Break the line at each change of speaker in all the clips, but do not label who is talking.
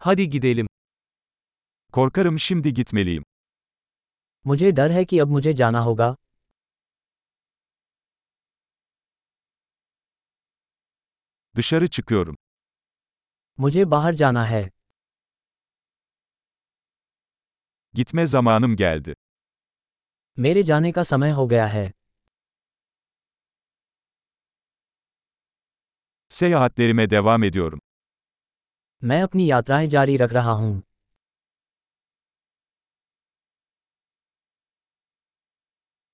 Hadi gidelim. Korkarım şimdi gitmeliyim.
मुझे डर है कि अब मुझे जाना होगा
Dışarı çıkıyorum.
मुझे बाहर जाना है
Gitme zamanım geldi.
मेरे जाने का समय हो गया है
Seyahatlerime devam ediyorum.
मैं अपनी यात्राएं जारी रख रहा हूँ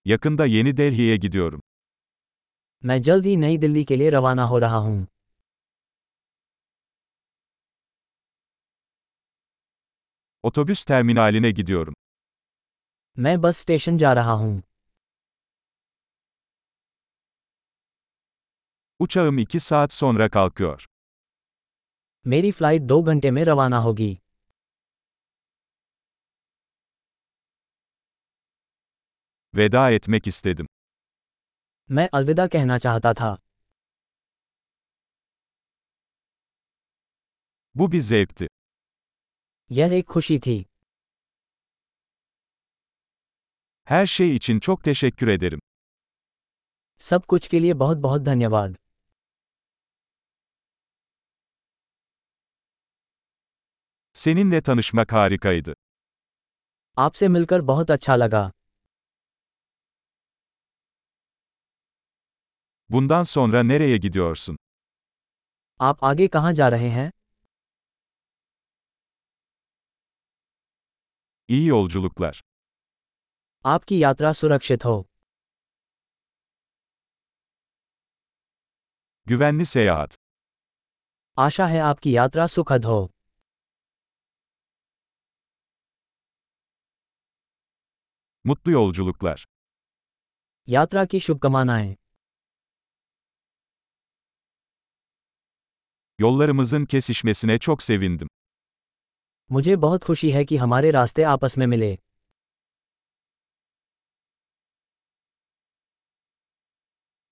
Yakında Yeni Delhi'ye gidiyorum.
मैं जल्द ही नई दिल्ली के लिए रवाना हो रहा हूँ
Otobüs terminaline gidiyorum.
मैं बस स्टेशन जा रहा हूँ
Uçağım 2 saat sonra kalkıyor.
मेरी फ्लाइट दो घंटे में रवाना होगी
Veda etmek istedim.
मैं अलविदा कहना चाहता था
Bu bir zevkti.
यह एक खुशी थी
Her şey için çok teşekkür ederim.
सब कुछ के लिए बहुत बहुत धन्यवाद
Seninle tanışmak harikaydı.
आपसे मिलकर बहुत अच्छा लगा
Bundan sonra nereye gidiyorsun?
आप आगे कहाँ जा रहे हैं
İyi yolculuklar.
आपकी यात्रा सुरक्षित हो
Güvenli seyahat.
आशा है आपकी यात्रा सुखद हो
Mutlu yolculuklar.
यात्रा की शुभकामनाएं
Yollarımızın kesişmesine çok sevindim.
मुझे बहुत खुशी है कि हमारे रास्ते आपस में मिले